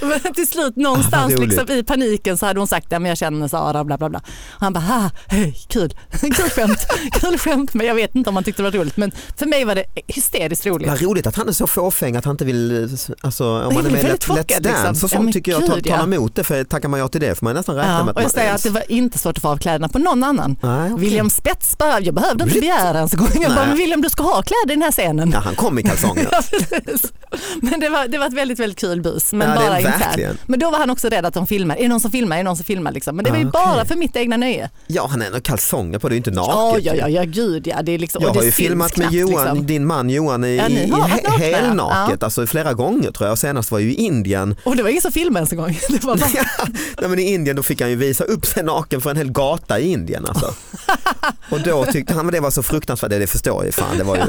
[SPEAKER 4] Men till slut någonstans
[SPEAKER 2] roligt.
[SPEAKER 4] liksom, i paniken så hade hon sagt, ja, men jag känner Sara bla bla bla. Och han bara, ha, hej, kul, kul skämt, kul skämt. Men jag vet inte om han tyckte det var roligt. Men för mig var det hysteriskt roligt.
[SPEAKER 2] Vad roligt att han är så fåfäng att han inte vill, alltså om man är
[SPEAKER 4] blir
[SPEAKER 2] med i
[SPEAKER 4] väldigt
[SPEAKER 2] Let's
[SPEAKER 4] chockad,
[SPEAKER 2] Let's Dance
[SPEAKER 4] liksom.
[SPEAKER 2] och
[SPEAKER 4] Ja,
[SPEAKER 2] sånt
[SPEAKER 4] men
[SPEAKER 2] tycker jag ta-
[SPEAKER 4] gud, ja.
[SPEAKER 2] talar emot det för tackar man ja till det får man nästan räkna med
[SPEAKER 4] Ja,
[SPEAKER 2] att
[SPEAKER 4] och
[SPEAKER 2] man-
[SPEAKER 4] jag säger att det var inte svårt att få av kläderna på någon annan.
[SPEAKER 2] Nej, okej.
[SPEAKER 4] William Spets behövde, jag behövde inte
[SPEAKER 2] Riktigt.
[SPEAKER 4] begära ens en gång. Jag bara,
[SPEAKER 2] Nej.
[SPEAKER 4] men William du ska ha kläder i den här scenen.
[SPEAKER 2] Ja, han kom i kalsongerna.
[SPEAKER 4] Ja, precis. Men det var, det var ett väldigt, väldigt kul bus. Men,
[SPEAKER 2] Ja, det är
[SPEAKER 4] bara internt.
[SPEAKER 2] verkligen.
[SPEAKER 4] men då var han också rädd att de filmar. Är det någon som filmar? Är det någon som filmar? Liksom. Men det var ju
[SPEAKER 2] Ah,
[SPEAKER 4] bara
[SPEAKER 2] okej.
[SPEAKER 4] för mitt egna nöje.
[SPEAKER 2] Ja han har ändå kalsonger på, det är ju inte naket.
[SPEAKER 4] Ja, ja, ja, ja, gud ja. Det är liksom,
[SPEAKER 2] Jag
[SPEAKER 4] och det
[SPEAKER 2] har ju
[SPEAKER 4] syns
[SPEAKER 2] filmat med
[SPEAKER 4] knappt,
[SPEAKER 2] Johan,
[SPEAKER 4] liksom.
[SPEAKER 2] din man Johan i,
[SPEAKER 4] Ja, ni
[SPEAKER 2] i
[SPEAKER 4] har varit
[SPEAKER 2] he-
[SPEAKER 4] nakna, ja.
[SPEAKER 2] helnaket, alltså flera gånger tror jag. Senast var ju i Indien.
[SPEAKER 4] Och det var ingen som filmade ens en gång. Det var bara,
[SPEAKER 2] Nej, men I Indien då fick han ju visa upp sig naken för en hel gata i Indien. Alltså. Och då tyckte han att det var så fruktansvärt, det förstår jag ju fan. Det var ju.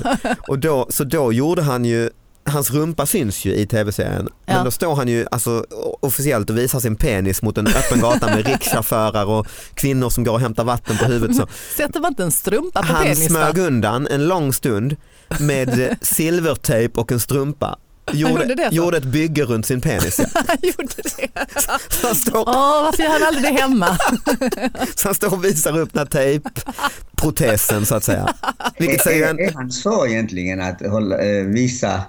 [SPEAKER 2] Och då, så då gjorde han ju, hans rumpa syns ju i tv-serien, men
[SPEAKER 4] Ja.
[SPEAKER 2] då står han ju alltså, officiellt och visar sin penis mot en öppen gata med rickchaufförer och kvinnor som går och hämtar vatten på huvudet. Så.
[SPEAKER 4] sätter man inte en strumpa på
[SPEAKER 2] Han
[SPEAKER 4] penis?
[SPEAKER 2] smög
[SPEAKER 4] va?
[SPEAKER 2] undan en lång stund med eh, silvertejp och en strumpa.
[SPEAKER 4] gjorde
[SPEAKER 2] Gjorde,
[SPEAKER 4] det, så?
[SPEAKER 2] gjorde ett bygge runt sin penis. ja.
[SPEAKER 4] Han gjorde det.
[SPEAKER 2] Så han står
[SPEAKER 4] Åh, varför gör han aldrig det hemma?
[SPEAKER 2] Så han står och visar upp den här tejpprotesen så att säga. Vilket
[SPEAKER 3] Är-
[SPEAKER 2] säger
[SPEAKER 3] är,
[SPEAKER 2] en...
[SPEAKER 3] är han så egentligen att hålla, eh, visa...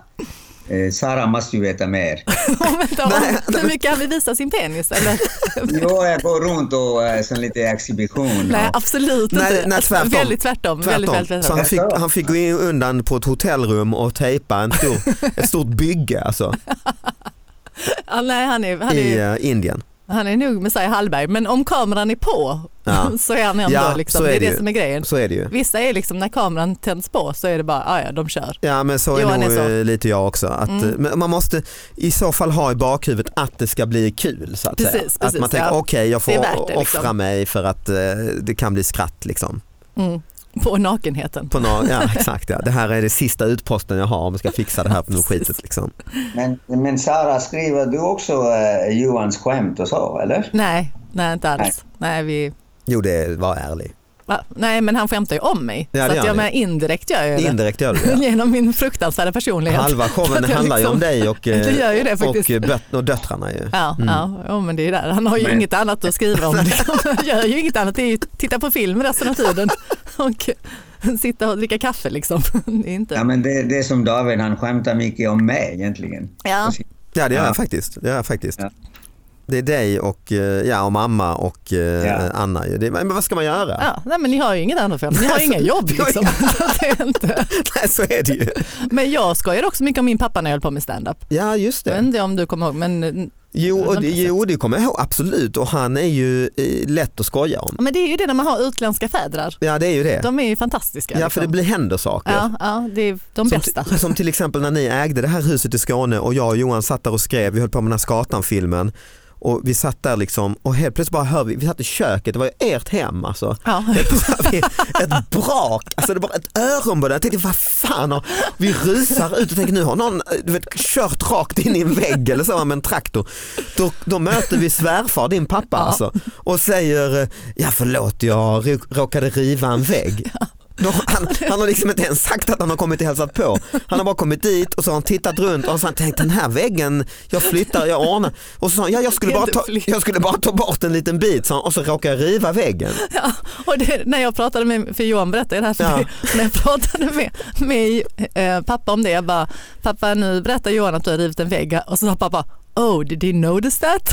[SPEAKER 3] Eh, Sara måste ju veta mer.
[SPEAKER 4] Och vänta, och-
[SPEAKER 2] Nej.
[SPEAKER 4] Hur mycket han vill visa sin penis? Eller?
[SPEAKER 3] Jo, jag går runt och eh, sen lite exhibition.
[SPEAKER 4] Nej,
[SPEAKER 3] och-
[SPEAKER 4] absolut
[SPEAKER 2] Nej, alltså-
[SPEAKER 4] inte.
[SPEAKER 2] nej, tvärtom.
[SPEAKER 4] Väldigt tvärtom. Väldigt, väldigt,
[SPEAKER 2] Så
[SPEAKER 4] tvärtom.
[SPEAKER 2] han fick, han fick gå in undan på ett hotellrum och tejpa en stor, ett stort bygge alltså,
[SPEAKER 4] Ja, nej, han är, han är
[SPEAKER 2] i eh, Indien.
[SPEAKER 4] Han är nog Messiah Hallberg, men om kameran är på
[SPEAKER 2] Ja.
[SPEAKER 4] så är han ändå
[SPEAKER 2] Ja,
[SPEAKER 4] liksom,
[SPEAKER 2] så
[SPEAKER 4] det
[SPEAKER 2] är
[SPEAKER 4] är
[SPEAKER 2] det
[SPEAKER 4] det
[SPEAKER 2] ju.
[SPEAKER 4] som är grejen.
[SPEAKER 2] Så är det ju.
[SPEAKER 4] Vissa är liksom när kameran tänds på så är det bara, "Ah, ja de kör.
[SPEAKER 2] Ja men så är
[SPEAKER 4] Johan är
[SPEAKER 2] nog
[SPEAKER 4] så.
[SPEAKER 2] eh, lite jag också. Att,
[SPEAKER 4] Mm.
[SPEAKER 2] eh, men Man måste i så fall ha i bakhuvudet att det ska bli kul. Så att,
[SPEAKER 4] Precis,
[SPEAKER 2] säga. att
[SPEAKER 4] precis,
[SPEAKER 2] man tänker
[SPEAKER 4] ja.
[SPEAKER 2] okej jag får
[SPEAKER 4] Det är värt det, liksom.
[SPEAKER 2] offra mig för att eh, det kan bli skratt. Liksom.
[SPEAKER 4] Mm. På nakenheten.
[SPEAKER 2] På någon, ja, exakt, ja. Det här är det sista utposten jag har om jag ska fixa det här på något skitet. Liksom.
[SPEAKER 3] Men, men Sara, skriver du också eh, Johans skämt och så, eller?
[SPEAKER 4] Nej, nej inte alls. Nej, vi,
[SPEAKER 2] Jo det var ärlig.
[SPEAKER 4] va? nej men han skämtar ju om mig.
[SPEAKER 2] Ja, det
[SPEAKER 4] så
[SPEAKER 2] gör
[SPEAKER 4] att jag
[SPEAKER 2] ni.
[SPEAKER 4] menar indirekt gör jag ju det.
[SPEAKER 2] Indirekt gör du det.
[SPEAKER 4] Genom min fruktansvärda personlighet.
[SPEAKER 2] Halva
[SPEAKER 4] För
[SPEAKER 2] showen
[SPEAKER 4] att jag
[SPEAKER 2] handlar ju om
[SPEAKER 4] liksom-
[SPEAKER 2] dig och, eh,
[SPEAKER 4] Det gör ju det
[SPEAKER 2] och,
[SPEAKER 4] faktiskt.
[SPEAKER 2] böt- och döttrarna. Ju.
[SPEAKER 4] Ja, ja, ja, men det är ju där. Han har ju
[SPEAKER 3] Men-
[SPEAKER 4] inget annat att skriva om. liksom. Han gör ju inget annat. Det är ju titta på film resten av tiden och sitta och dricka kaffe liksom. Det är inte...
[SPEAKER 3] Ja, men det, det är som David, han skämtar mycket om mig egentligen.
[SPEAKER 4] Ja.
[SPEAKER 2] Ja det gör
[SPEAKER 3] Ja.
[SPEAKER 2] jag faktiskt. Det, gör jag faktiskt.
[SPEAKER 3] Ja.
[SPEAKER 2] det är dig och, eh, ja, och mamma och eh,
[SPEAKER 3] Ja.
[SPEAKER 2] Anna. ju. Det, men vad ska man göra?
[SPEAKER 4] Ja, nej, men ni har ju inget annat för Ni har
[SPEAKER 2] Nej,
[SPEAKER 4] inga
[SPEAKER 2] så-
[SPEAKER 4] jobb
[SPEAKER 2] jag-
[SPEAKER 4] liksom. Så att det är inte.
[SPEAKER 2] Nej så är det ju.
[SPEAKER 4] Men jag skojar också mycket om min pappa när jag höll på med standup.
[SPEAKER 2] Ja just
[SPEAKER 4] Jag vet
[SPEAKER 2] det.
[SPEAKER 4] inte om du kommer ihåg men,
[SPEAKER 2] Jo, och,
[SPEAKER 4] Vänta,
[SPEAKER 2] jo det kommer jag ihåg absolut och han är ju eh, lätt att skoja om.
[SPEAKER 4] men det är ju det när man har utländska fädrar.
[SPEAKER 2] Ja det är ju det.
[SPEAKER 4] De är ju fantastiska.
[SPEAKER 2] Ja för det
[SPEAKER 4] liksom.
[SPEAKER 2] blir, händer saker.
[SPEAKER 4] ja, ja, det är de
[SPEAKER 2] Som,
[SPEAKER 4] bästa.
[SPEAKER 2] t- som till exempel när ni ägde det här huset i Skåne och jag och Johan satt där och skrev, vi höll på med den här Skatan-filmen och vi satt där liksom och helt plötsligt bara hör vi, vi satt i köket, det var ju ert hem alltså.
[SPEAKER 4] Ja.
[SPEAKER 2] Helt plötsligt hör vi ett brak, alltså det var ett öronbåde, jag tänkte vad fan, och vi rusar ut och tänker nu har någon du vet, kört rakt in i en vägg eller så med en traktor. Då, då möter vi svärfar, din pappa alltså, och säger ja förlåt jag rå- råkade riva en vägg. Då, han, han har liksom inte ens sagt att han har kommit och hälsat på. Han har bara kommit dit och så har han tittat runt och så har han tänkt den här väggen, jag flyttar, jag anar. Och så sa han, ja, jag, skulle bara ta, jag skulle bara ta bort en liten bit så han, och så råkade jag riva väggen.
[SPEAKER 4] Ja, och det, när jag pratade med, för Johan berättade det här för
[SPEAKER 2] Ja.
[SPEAKER 4] mig, när jag pratade med, med eh, pappa om det, jag bara, pappa nu berättar Johan att du har rivit en vägg och så sa pappa, oh did you notice that?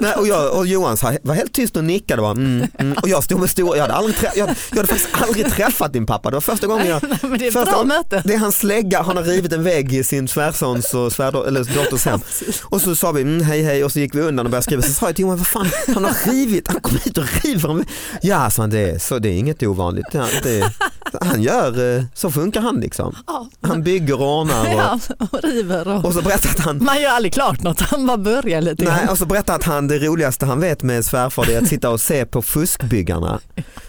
[SPEAKER 2] Nej, och, jag, och Johan sa, var helt tyst och nickade bara, mm, mm. och jag stod med stora, jag hade, aldrig trä, jag, jag hade faktiskt aldrig träffat din pappa, det var första gången jag
[SPEAKER 4] Nej, men det är ett
[SPEAKER 2] första,
[SPEAKER 4] bra möte.
[SPEAKER 2] Det är hans slägga, han har rivit en vägg i sin svärsons och svärdo, eller dotters hem. Och så sa vi mm, hej hej och så gick vi undan och började skriva, så sa jag till Johan, vad fan, han har rivit, han kom hit och river. en vä- Ja, sa han, det, är- så det är inget ovanligt. Ja, det, är- han gör, eh, så funkar han liksom.
[SPEAKER 4] Ja.
[SPEAKER 2] Han bygger och ordnar och,
[SPEAKER 4] Ja, och river och,
[SPEAKER 2] och så berättade han
[SPEAKER 4] man gör aldrig klart något, han bara börjar lite
[SPEAKER 2] Nej, alltså-
[SPEAKER 4] grann.
[SPEAKER 2] och så berättar att han, det roligaste han vet med svärfar det är att sitta och se på fuskbyggarna.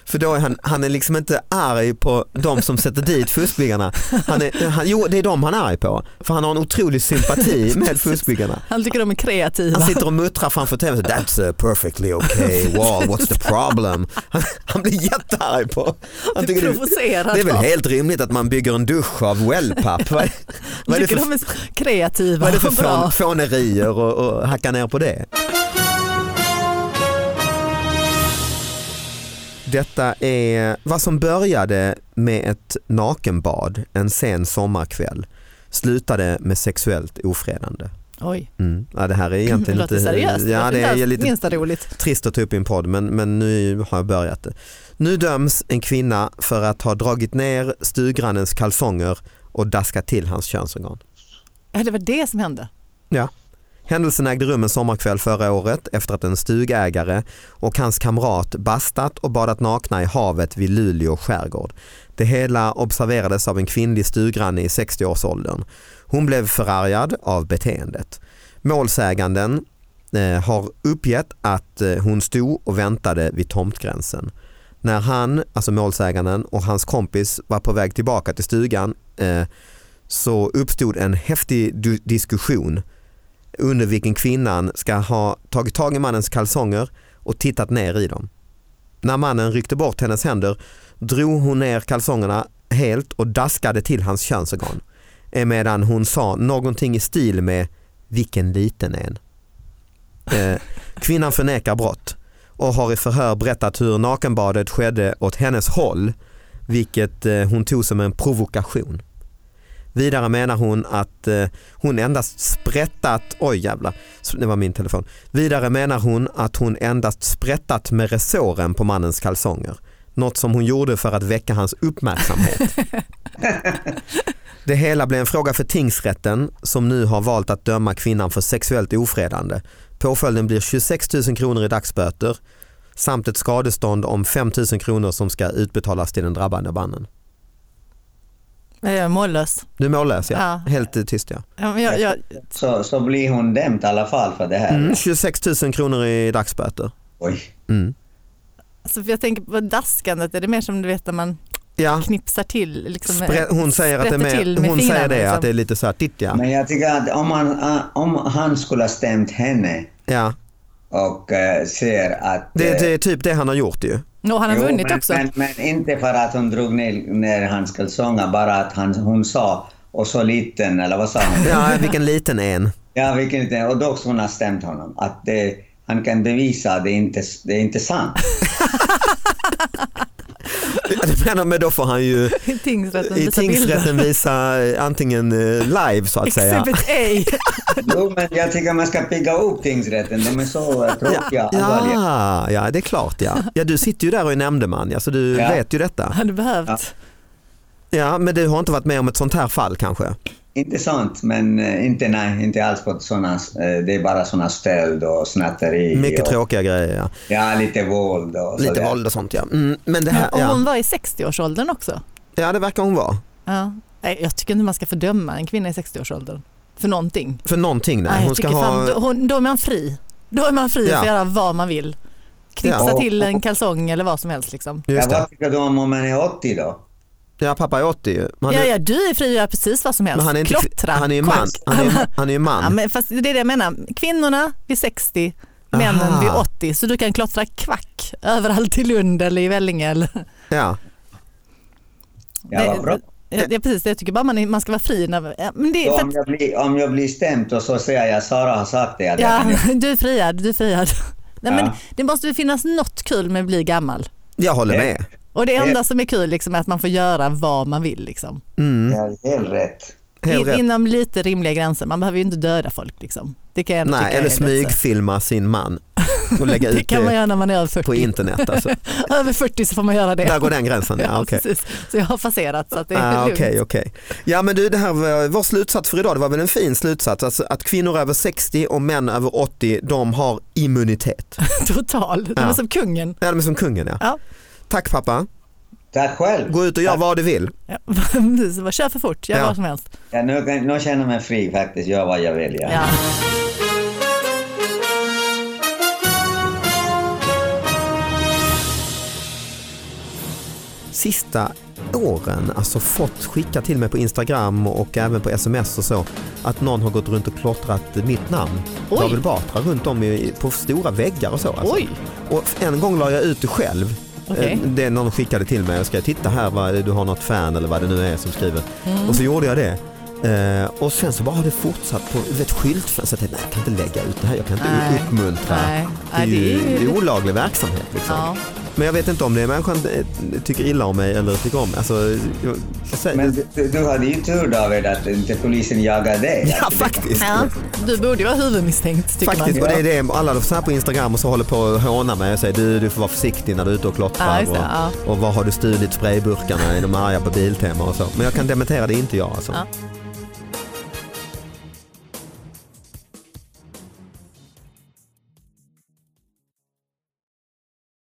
[SPEAKER 2] För då är han, han är liksom inte arg på de som sätter dit fuskbyggarna. Han är, han, jo, det är de han är arg på. För han har en otrolig sympati med fuskbyggarna.
[SPEAKER 4] Han tycker de är kreativa.
[SPEAKER 2] Han sitter och muttrar framför tvn. så, That's a perfectly okay wall, what's the problem? Han, han blir jättearg på. Han
[SPEAKER 4] Blir
[SPEAKER 2] tycker det,
[SPEAKER 4] provocerad.
[SPEAKER 2] det är väl
[SPEAKER 4] av.
[SPEAKER 2] helt rimligt att man bygger en dusch av wellpapp. Vad, är- vad är det
[SPEAKER 4] tycker
[SPEAKER 2] för
[SPEAKER 4] de är så kreativa
[SPEAKER 2] vad är det
[SPEAKER 4] och
[SPEAKER 2] för
[SPEAKER 4] bra.
[SPEAKER 2] fån, fånerier och, och hacka ner på det? Detta är vad som började med ett nakenbad en sen sommarkväll slutade med sexuellt ofredande.
[SPEAKER 4] Oj,
[SPEAKER 2] Mm. Ja, det här är
[SPEAKER 4] det
[SPEAKER 2] egentligen
[SPEAKER 4] låter
[SPEAKER 2] lite,
[SPEAKER 4] seriöst.
[SPEAKER 2] ja, det är lite
[SPEAKER 4] minsta roligt.
[SPEAKER 2] trist att ta upp i en podd men, men nu har jag börjat det. Nu döms en kvinna för att ha dragit ner stuggrannens kalsonger och daskat till hans könsorgan.
[SPEAKER 4] Ja, det var det som hände.
[SPEAKER 2] Ja. Händelsen ägde rum en sommarkväll förra året efter att en stugägare och hans kamrat bastat och badat nakna i havet vid Luleå skärgård. Det hela observerades av en kvinnlig stugranne i 60-årsåldern. Hon blev förargad av beteendet. Målsäganden eh, har uppgett att eh, hon stod och väntade vid tomtgränsen. När han, alltså målsäganden och hans kompis var på väg tillbaka till stugan eh, så uppstod en häftig du- diskussion under vilken kvinnan ska ha tagit tag i mannens kalsonger och tittat ner i dem. När mannen ryckte bort hennes händer drog hon ner kalsongerna helt och daskade till hans könsorgan. Medan hon sa någonting i stil med “vilken liten en”. Eh, kvinnan förnekar brott och har i förhör berättat hur nakenbadet skedde åt hennes håll vilket eh, hon tog som en provokation. Vidare menar hon att eh, hon endast sprättat, oj jävlar, det var min telefon. Vidare menar hon att hon endast sprättat med resåren på mannens kalsonger. Något som hon gjorde för att väcka hans uppmärksamhet. Det hela blev en fråga för tingsrätten som nu har valt att döma kvinnan för sexuellt ofredande. Påföljden blir 26 000 kronor i dagsböter samt ett skadestånd om 5 000 kronor som ska utbetalas till den drabbade mannen.
[SPEAKER 4] Jag är mållös.
[SPEAKER 2] Du är mållös ja,
[SPEAKER 4] Ja.
[SPEAKER 2] helt eh, tyst ja.
[SPEAKER 4] Ja, men jag, jag,
[SPEAKER 3] Så, så blir hon dömd i alla fall för det här.
[SPEAKER 2] Mm, 26 000 kronor i dagsböter.
[SPEAKER 3] Oj.
[SPEAKER 2] Mm.
[SPEAKER 4] alltså, för jag tänker på daskandet, är det mer som du vet när man
[SPEAKER 2] Ja,
[SPEAKER 4] knipsar till? Liksom,
[SPEAKER 2] sprä- hon säger att det är
[SPEAKER 4] sprätter
[SPEAKER 2] mer,
[SPEAKER 4] till med
[SPEAKER 2] hon säger
[SPEAKER 4] fingrarna,
[SPEAKER 2] det,
[SPEAKER 4] liksom.
[SPEAKER 2] att det är lite så här, titt ja.
[SPEAKER 3] Men jag tycker att om han, eh, om han skulle ha stämt henne
[SPEAKER 2] ja.
[SPEAKER 3] och eh, ser att...
[SPEAKER 2] Det,
[SPEAKER 3] eh,
[SPEAKER 2] det är typ det han har gjort ju.
[SPEAKER 4] No, han har
[SPEAKER 3] Jo,
[SPEAKER 4] vunnit
[SPEAKER 3] men,
[SPEAKER 4] också.
[SPEAKER 3] Men, men inte för att hon drog ner, ner hans kalsonger, bara att han, hon sa och så liten, eller vad sa hon?
[SPEAKER 2] Ja, vilken liten en.
[SPEAKER 3] ja, vilken liten. Och då hon har stämt honom. Att det, han kan bevisa att det inte det är inte sant.
[SPEAKER 2] Men, men då får han ju
[SPEAKER 4] I tingsrätten
[SPEAKER 2] i
[SPEAKER 4] visar bilder.
[SPEAKER 2] tingsrätten visa eh, antingen eh, live så att säga.
[SPEAKER 4] Exhibit A.
[SPEAKER 3] Jo, men jag tycker man ska pigga upp tingsrätten. De är så eh, tråkiga.
[SPEAKER 2] Ja,
[SPEAKER 3] allvarliga.
[SPEAKER 2] ja, ja, det är klart ja. ja. Du sitter ju där och är nämndeman, ja, så du
[SPEAKER 3] Ja.
[SPEAKER 2] vet ju detta.
[SPEAKER 4] Hade behövt.
[SPEAKER 3] Ja.
[SPEAKER 2] Ja, men du har inte varit med om ett sånt här fall kanske?
[SPEAKER 3] Inte sant, men eh, inte, nej, inte alls på såna, eh, det är bara såna stöld och snatteri.
[SPEAKER 2] Mycket
[SPEAKER 3] och,
[SPEAKER 2] tråkiga grejer ja.
[SPEAKER 3] Ja, lite våld och
[SPEAKER 2] Lite
[SPEAKER 3] sådär.
[SPEAKER 2] våld och sånt ja. Mm, men det här,
[SPEAKER 4] Och hon
[SPEAKER 2] ja.
[SPEAKER 4] var i 60-årsåldern också.
[SPEAKER 2] ja, det verkar hon vara.
[SPEAKER 4] Ja. Nej, jag tycker inte man ska fördöma en kvinna i 60-årsåldern för någonting.
[SPEAKER 2] För någonting
[SPEAKER 4] Nej,
[SPEAKER 2] nej.
[SPEAKER 4] jag
[SPEAKER 2] Hon ska
[SPEAKER 4] tycker
[SPEAKER 2] ha...
[SPEAKER 4] fan, då, hon, då är man fri. Då är man fri
[SPEAKER 2] Ja.
[SPEAKER 4] att göra vad man vill. Knipsa
[SPEAKER 2] Ja.
[SPEAKER 4] till en kalsong eller vad som helst. Liksom.
[SPEAKER 3] Ja,
[SPEAKER 2] Just det.
[SPEAKER 3] vad tycker du om om man är 80 då?
[SPEAKER 2] Ja, pappa är 80 ju. Men han
[SPEAKER 4] Ja,
[SPEAKER 2] är-
[SPEAKER 4] ja, du är fri att göra precis vad som helst.
[SPEAKER 2] Men han är inte,
[SPEAKER 4] Klottra,
[SPEAKER 2] han är ju man.
[SPEAKER 4] konst.
[SPEAKER 2] Han är, han är ju
[SPEAKER 4] Ja,
[SPEAKER 2] man.
[SPEAKER 4] men fast det är det jag menar. Kvinnorna vid 60, männen
[SPEAKER 2] Aha.
[SPEAKER 4] vid 80. Så du kan klottra kvack överallt i Lund eller i Vellinge. Eller.
[SPEAKER 2] Ja.
[SPEAKER 3] Ja, vad bra.
[SPEAKER 4] Ja, det är precis, jag tycker bara man, är, man ska vara fri. När, ja, men det, är
[SPEAKER 3] Så
[SPEAKER 4] för
[SPEAKER 3] om,
[SPEAKER 4] att,
[SPEAKER 3] jag blir, om jag blir stämd och så säger jag Sara har sagt det. det
[SPEAKER 4] ja,
[SPEAKER 3] kan jag-
[SPEAKER 4] du är friad, du är friad. Nej, men
[SPEAKER 3] Ja.
[SPEAKER 4] det måste väl finnas något kul med att bli gammal.
[SPEAKER 2] Jag håller med.
[SPEAKER 4] Och det
[SPEAKER 2] Eh.
[SPEAKER 4] enda som är kul liksom, är att man får göra vad man vill. Liksom.
[SPEAKER 3] Det är helt rätt.
[SPEAKER 2] Helt
[SPEAKER 4] In,
[SPEAKER 2] rätt.
[SPEAKER 4] inom lite rimliga gränser. Man behöver ju inte döda folk. Liksom. Det kan jag ändå
[SPEAKER 2] Nej,
[SPEAKER 4] tycka
[SPEAKER 2] eller
[SPEAKER 4] är
[SPEAKER 2] smygfilma sin man och lägga
[SPEAKER 4] lite- Det
[SPEAKER 2] ut
[SPEAKER 4] kan man
[SPEAKER 2] det
[SPEAKER 4] göra när man är över 40.
[SPEAKER 2] på internet. Alltså.
[SPEAKER 4] Över 40 så får man göra det.
[SPEAKER 2] Där går den gränsen. Ja,
[SPEAKER 4] Ja,
[SPEAKER 2] okej.
[SPEAKER 4] precis. Så jag har passerat så att det är
[SPEAKER 2] Ah,
[SPEAKER 4] lugnt.
[SPEAKER 2] okej, okej. Ja men du, det här var vår slutsats för idag, det var väl en fin slutsats, alltså att kvinnor över 60 och män över 80, de har immunitet.
[SPEAKER 4] Total. De är
[SPEAKER 2] Ja.
[SPEAKER 4] som kungen.
[SPEAKER 2] Ja, de är som kungen ja.
[SPEAKER 4] Ja.
[SPEAKER 2] Tack pappa,
[SPEAKER 3] Tack själv.
[SPEAKER 2] gå ut och gör vad du vill.
[SPEAKER 4] Ja, precis. Bara Kör för fort, gör
[SPEAKER 2] Ja.
[SPEAKER 4] vad som helst.
[SPEAKER 3] Ja, nu, kan- nu känner jag mig fri faktiskt, gör vad jag vill. Ja.
[SPEAKER 4] Ja.
[SPEAKER 2] Sista åren, alltså fått skicka till mig på Instagram och även på sms och så, att någon har gått runt och klottrat mitt namn,
[SPEAKER 4] Oj.
[SPEAKER 2] David Batra, runt om i, på stora väggar och så. Alltså.
[SPEAKER 4] Oj.
[SPEAKER 2] Och en gång la jag ut det själv.
[SPEAKER 4] Okej.
[SPEAKER 2] Eh, Det någon skickade till mig och skrev titta här vad, du har något fan eller vad det nu är som skriver.
[SPEAKER 4] Mm.
[SPEAKER 2] Och så gjorde jag det. Eh, och sen så bara har det fortsatt på du vet, skyltfönster. Så jag tänkte, nej, jag kan inte lägga ut det här, jag kan inte
[SPEAKER 4] Nej.
[SPEAKER 2] uppmuntra.
[SPEAKER 4] Nej. Nej,
[SPEAKER 2] det, är
[SPEAKER 4] det är
[SPEAKER 2] ju,
[SPEAKER 4] ju-
[SPEAKER 2] det är olaglig verksamhet. Liksom.
[SPEAKER 4] Ja.
[SPEAKER 2] Men jag vet inte om det är människan eh, tycker illa om mig eller tycker om mig. Alltså, jag, jag säger,
[SPEAKER 3] Men du- du, du hade ju tur David att inte polisen jagade dig.
[SPEAKER 2] ja faktiskt.
[SPEAKER 4] Ja. Du borde ju vara huvudmisstänkt tycker
[SPEAKER 2] Faktiskt,
[SPEAKER 4] man.
[SPEAKER 2] och det är det alla de så här på Instagram och så håller på och hånar mig och säger du, du får vara försiktig när du är ute och
[SPEAKER 4] Ja,
[SPEAKER 2] klottrar
[SPEAKER 4] just det,
[SPEAKER 2] och, och var har du stulit sprayburkarna i de arga på Biltema och så. Men jag kan dementera, det är inte jag alltså.
[SPEAKER 4] Ja.